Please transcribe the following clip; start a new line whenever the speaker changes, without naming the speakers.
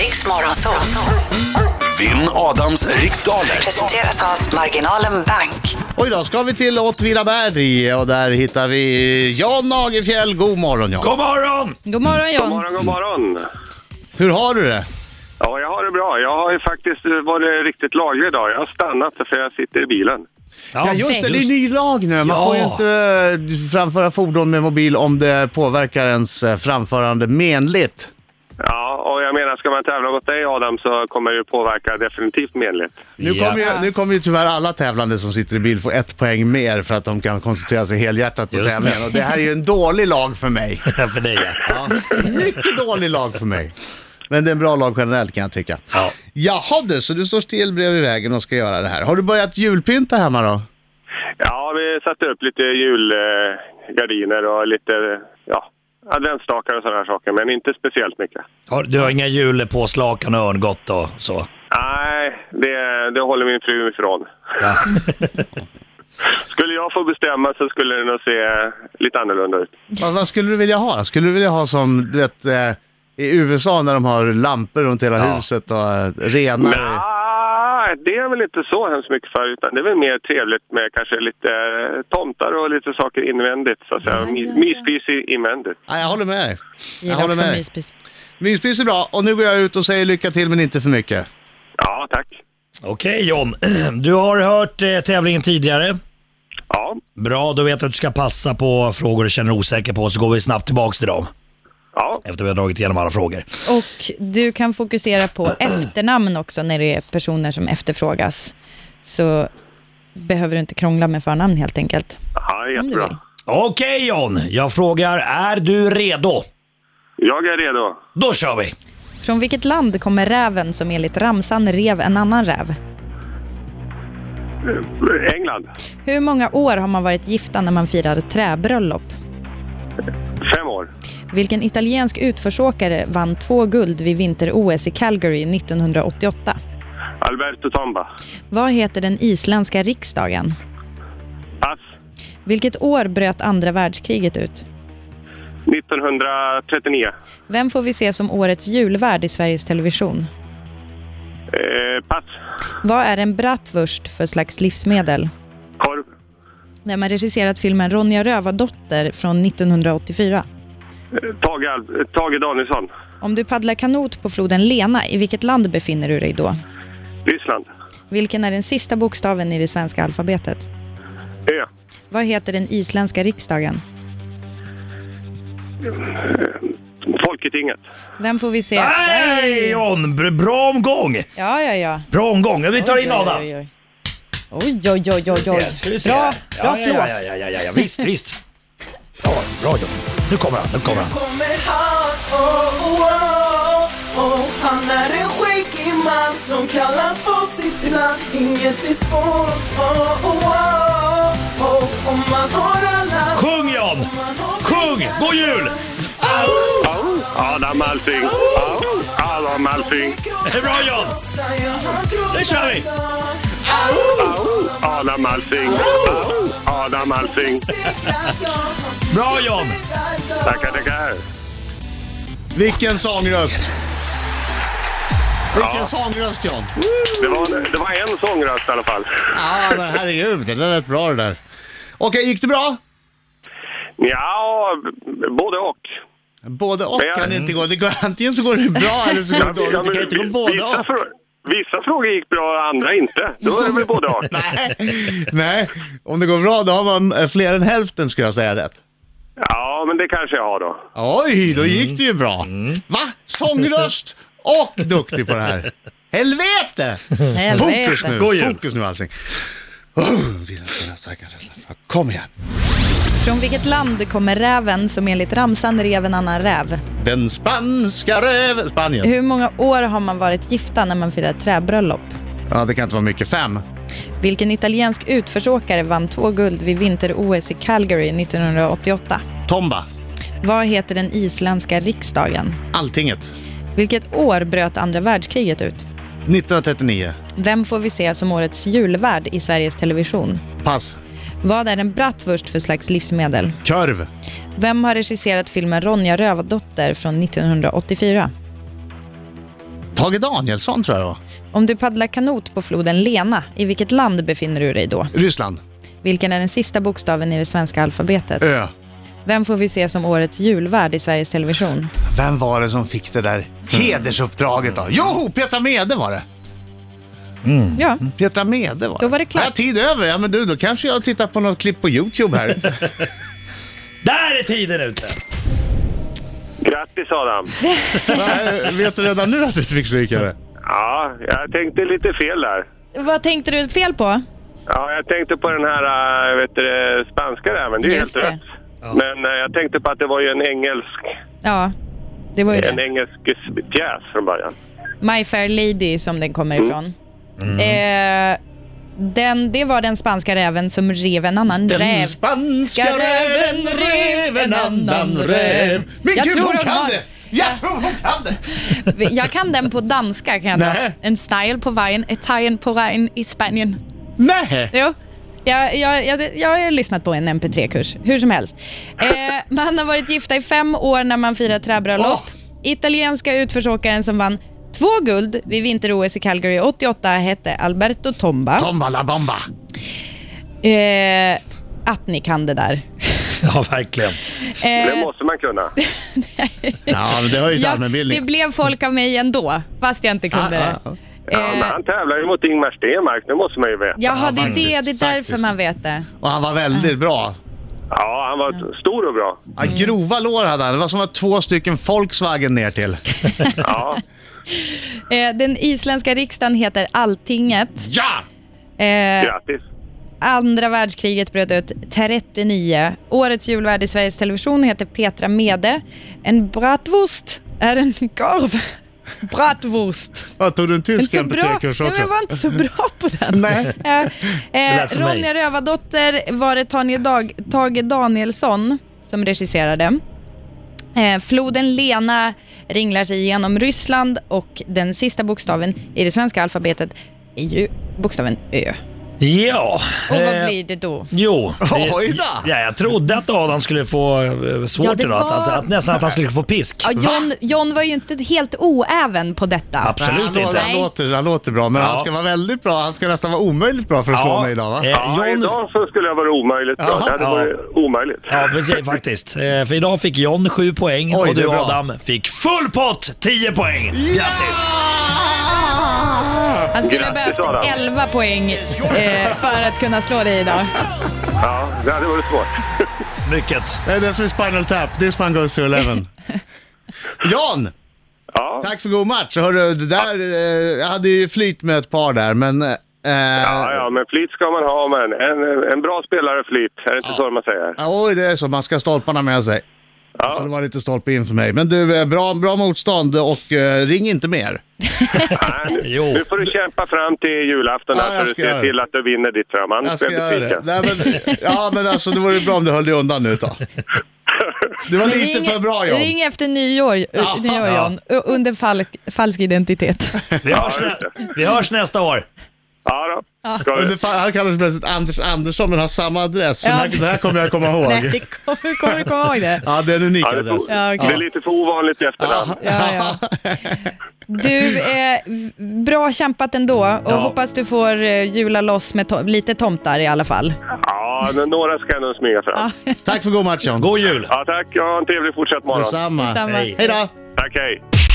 Riks Morgonzoo.
Vinn Adams riksdaler.
Presenteras av Marginalen Bank.
Och idag ska vi till Åtvidaberg och där hittar vi Jan Nagelfjäll. God morgon Jan!
God morgon!
God morgon
God
John.
morgon, god morgon.
Hur har du det?
Ja, jag har det bra. Jag har ju faktiskt eh, varit riktigt laglig idag. Jag har stannat för jag sitter i bilen.
Ja just det, det är
just-
ny lag nu. Man
Ja.
får ju inte eh, framföra fordon med mobil om det påverkar ens eh, framförande menligt.
Ja, och jag menar, ska man tävla mot dig Adam så kommer det påverka definitivt menligt.
Nu
Ja.
kommer ju, nu kommer ju tyvärr alla tävlande som sitter i bil få ett poäng mer för att de kan koncentrera sig helhjärtat på
Just det.
tävlingen. Och det här är ju en dålig lag för mig.
för dig ja.
Ja, mycket dålig lag för mig. Men det är en bra lag generellt kan jag tycka.
ja.
Jaha du, så du står still bredvid vägen och ska göra det här. Har du börjat julpynta hemma då?
Ja, vi satte upp lite julgardiner och lite, ja, adventsstakar och sådana här saker, men inte speciellt mycket.
Har- Du har inga julepåslakan och örngott och så?
Nej, det, det håller min fru ifrån.
Ja.
Skulle jag få bestämma så skulle det nog se lite annorlunda ut.
Vad, vad skulle du vilja ha? Skulle du vilja ha som du vet, eh, i USA när de har lampor runt hela
Ja.
huset och eh, renar?
Nej, det är väl inte så hemskt mycket för, utan det är väl mer trevligt med kanske lite eh, tomtar och lite saker invändigt, så att säga. My, myspys i- invändigt.
Nej, jag håller med dig. Jag
Gillar
håller
också
med dig.
myspys.
Myspys är bra och nu går jag ut och säger lycka till men inte för mycket.
Ja, tack.
Okej John, du har hört eh, tävlingen tidigare.
Ja,
Bra, då vet du att du ska passa på frågor du känner dig osäker på så går vi snabbt tillbaks till dem
ja,
efter vi har dragit igenom alla frågor.
Och du kan fokusera på efternamn också när det är personer som efterfrågas. Så behöver du inte krångla med förnamn helt enkelt.
ja
Om du vill.
jättebra.
Okej John, jag frågar, är du redo?
Jag är redo.
Då kör vi!
Från vilket land kommer räven som enligt ramsan rev en annan räv?
Eh, England,
Hur många år har man varit gifta när man firar träbröllop?
fem år.
Vilken italiensk utförsåkare vann två guld vid vinter-OS i Calgary 1988?
Alberto Tomba.
Vad heter den isländska riksdagen?
Pass.
Vilket år bröt andra världskriget ut?
1939.
Vem får vi se som årets julvärd i Sveriges Television?
Eh, pass.
Vad är en bratwurst för slags livsmedel?
Korv.
Vem har regisserat filmen Ronja Rövardotter från 1984?
Eh, Tage, Al- eh, Tage Danielsson.
Om du paddlar kanot på floden Lena, i vilket land befinner du dig då?
Ryssland.
Vilken är den sista bokstaven i det svenska alfabetet?
Ö.
Vad heter den isländska riksdagen?
Folketinget.
Vem får vi se?
Nej John, br- bra omgång!
Ja, ja, ja.
Bra omgång, vi tar in Adam.
Oj, oj, oj. oj, oj, oj, oj.
Ska vi se.
Bra,
Ja,
bra
ja, ja,
flås.
Ja, ja, ja, ja, visst, visst. Ja, bra John. Nu kommer han, nu kommer han.
kommer han, oh, oh, oh, oh. Han är en skäggig man som kallas på sitt land Inget är svårt, oh, oh, oh, oh. Om man har alla
Sjung John!
om man har
Sjung! God jul!
Adam Alsing. Adam Alsing.
Det är bra John!
Nu
kör vi!
Adam Alsing. Adam Alsing.
Bra John!
Tackar, tackar.
Vilken sångröst! Vilken sångröst John!
Det var, det var en sångröst i alla fall.
Ja men herregud, det där lät bra det där. Okej, gick det bra?
Ja, både och.
Både och
Men jag-
kan det inte gå. Det går, antingen så går det bra eller så går det dåligt. Det kan inte gå
vi-
både
vissa,
och.
frå- vissa frågor gick bra, andra inte. Då är det väl både och.
Nej. Nej, om det går bra då har man eh, fler än hälften skulle jag säga rätt.
Ja, men det kanske jag har då.
Oj, då gick det ju bra. Va? Sångröst och duktig på det här. Helvete!
Helvete.
Fokus nu,
God jul.
fokus nu Alsing. Oh, vill jag kunna säkra det. Kom igen.
Från vilket land kommer räven som enligt ramsan rev en annan räv?
Den spanska röven. Spanien.
Hur många år har man varit gifta när man firar träbröllop?
Ja, det kan inte vara mycket. Fem.
Vilken italiensk utförsåkare vann två guld vid vinter-OS i Calgary 1988?
Tomba.
Vad heter den isländska riksdagen?
Alltinget.
Vilket år bröt andra världskriget ut?
1939.
Vem får vi se som årets julvärd i Sveriges Television?
Pass.
Vad är en bratwurst för slags livsmedel?
Körv.
Vem har regisserat filmen Ronja Rövardotter från 1984?
Tage Danielsson tror jag det var.
Om du paddlar kanot på floden Lena, i vilket land befinner du dig då?
Ryssland.
Vilken är den sista bokstaven i det svenska alfabetet?
Ö.
Vem får vi se som årets julvärd i Sveriges Television?
Vem var det som fick det där hedersuppdraget då? Jo, Petra Mede var det. Mm.
Ja,
Petra Mede var
Då var det klart.
Har jag tid över? Ja, men du, då kanske jag tittar på något klipp på YouTube här.
Där är tiden ute!
Grattis Adam!
Nej, Vet du redan nu att du fick stryka det?
Ja, jag tänkte lite fel där.
vad tänkte du fel på?
Ja, jag tänkte på den här äh, vet du, det, spanska där, men det är ju
Just
helt
det.
rätt. Men äh, jag tänkte på att det var ju en engelsk,
Ja, det var ju
en
det.
engelsk pjäs från början.
My Fair Lady som den kommer ifrån.
Mm.
Eh, den, det var den spanska räven som rev en annan
Den
räv.
spanska
Ska
räven rev en annan räv. Men
Jag
gud,
tror
hon
hon
kan
har-
det! Jag tror hon kan det!
Jag kan den på danska. Kan jag
Nej.
ta. en style på vägen, ett tajen på vägen i Spanien.
Nej.
Jo. Jag, jag, jag, jag har lyssnat på en MP3-kurs, hur som helst. Eh, man har varit gifta i fem år när man firar träbröllop.
Åh!
Italienska utförsåkaren som vann två guld vid vinter-OS i Calgary 88 hette Alberto Tomba.
Tomba la bomba.
Eh, att ni kan det där. Eh,
Ja, verkligen.
Det måste man kunna.
Ja, men det var ju till
Ja, det
allmänbildning.
blev folk av mig ändå, fast jag inte kunde
Ah,
det.
ah, ah.
Ja, men han tävlar ju mot Ingmar Stenmark, det måste man ju veta.
Jaha, det är det.
faktiskt,
Det är därför
faktiskt.
man vet det.
Och han var väldigt bra.
Ja, han var stor och bra.
Ja,
Mm.
grova lår hade han. Det var som att två stycken Volkswagen ner till.
Ja,
Eh, den isländska riksdagen heter Alltinget.
Ja!
Eh,
grattis.
Andra världskriget bröt ut 39. Årets julvärd i Sveriges Television heter Petra Mede. En bratwurst är en korv. Bratwurst.
Ja, tog du en tysk
Inte så bra.
MP3-kurs
Nej, men
också?
jag var inte så bra på den.
Nej.
Eh, eh,
lät som mig.
Ronja Rövardotter var det Tanja Dag, Tage Danielsson som regisserade. Eh, floden Lena ringlar sig genom Ryssland och den sista bokstaven i det svenska alfabetet är ju bokstaven Ö.
Ja.
Och
eh,
vad blir det då?
Jo. det-
Oj då!
Ja, jag trodde att Adam skulle få eh, svårt
Ja, det
idag. Att,
var-
alltså, att, nästan att han skulle få pisk.
Ja, John, John var ju inte helt oäven på detta.
Absolut
han, låter,
inte.
han, låter, han låter bra, men
Ja.
han ska vara väldigt bra. Han ska nästan vara omöjligt bra för att slå mig idag va?
eh,
Ja,
John,
idag så skulle jag vara omöjligt.
Ja.
Ja, det hade
Ja.
varit omöjligt.
ja, precis, faktiskt. Eh, För idag fick John 7 poäng
Oj,
och
det är
du
bra.
Adam fick full pott 10 poäng. Grattis!
Han skulle ha
Grattis,
behövt
Adam.
11 poäng eh, för att kunna slå dig idag.
Ja, det hade varit svårt.
Mycket.
Det är det som är Spinal Tap. This one goes to eleven. Jan!
Ja,
Tack för god match. Hörru, det där, eh, jag hade ju flyt med ett par där, men... Eh,
ja, ja men flyt ska man ha, men en, en bra spelare flyt. Är det inte så man säger?
Oj, det är så. Man ska ha stolparna med sig. Så det var lite stolpe in för mig. Men du, eh, bra, bra motstånd och eh, ring inte mer.
Jo.
Nu får du kämpa fram till julafton
Ja,
här
jag
så
ska
du
göra
ser
det.
till att du vinner ditt fram.
Jag
Annars
ska
blir jag
göra det.
besviken.
Nej, men, ja, men alltså det vore bra om du höll dig undan nu då. Du var lite för bra John.
ring efter nyår, eh,
Ja.
nyår John, u- under falsk, falsk identitet.
Vi hörs, nä- vi hörs nästa år.
Ja, då. Ska
Under
vi.
fa- Han kallas plötsligt Anders Andersson men har samma adress. För
Ja.
den, här, den här kommer jag komma
Nej,
ihåg.
det kommer, kommer du komma ihåg det?
Ja, det är en unik
Ja, det, är
adress.
för,
Ja, okej.
det är lite för ovanligt i efternamn.
Ja, ja. Du, eh, v- bra kämpat ändå och hoppas du får eh, jula loss med to- lite tomtar i alla fall.
Ja, men några ska jag nog smyga fram.
Tack för god match John.
God jul!
Ja, tack. Ja, en trevlig fortsatt morgon.
Detsamma.
Detsamma.
Hej.
Hej då.
Tack, hej.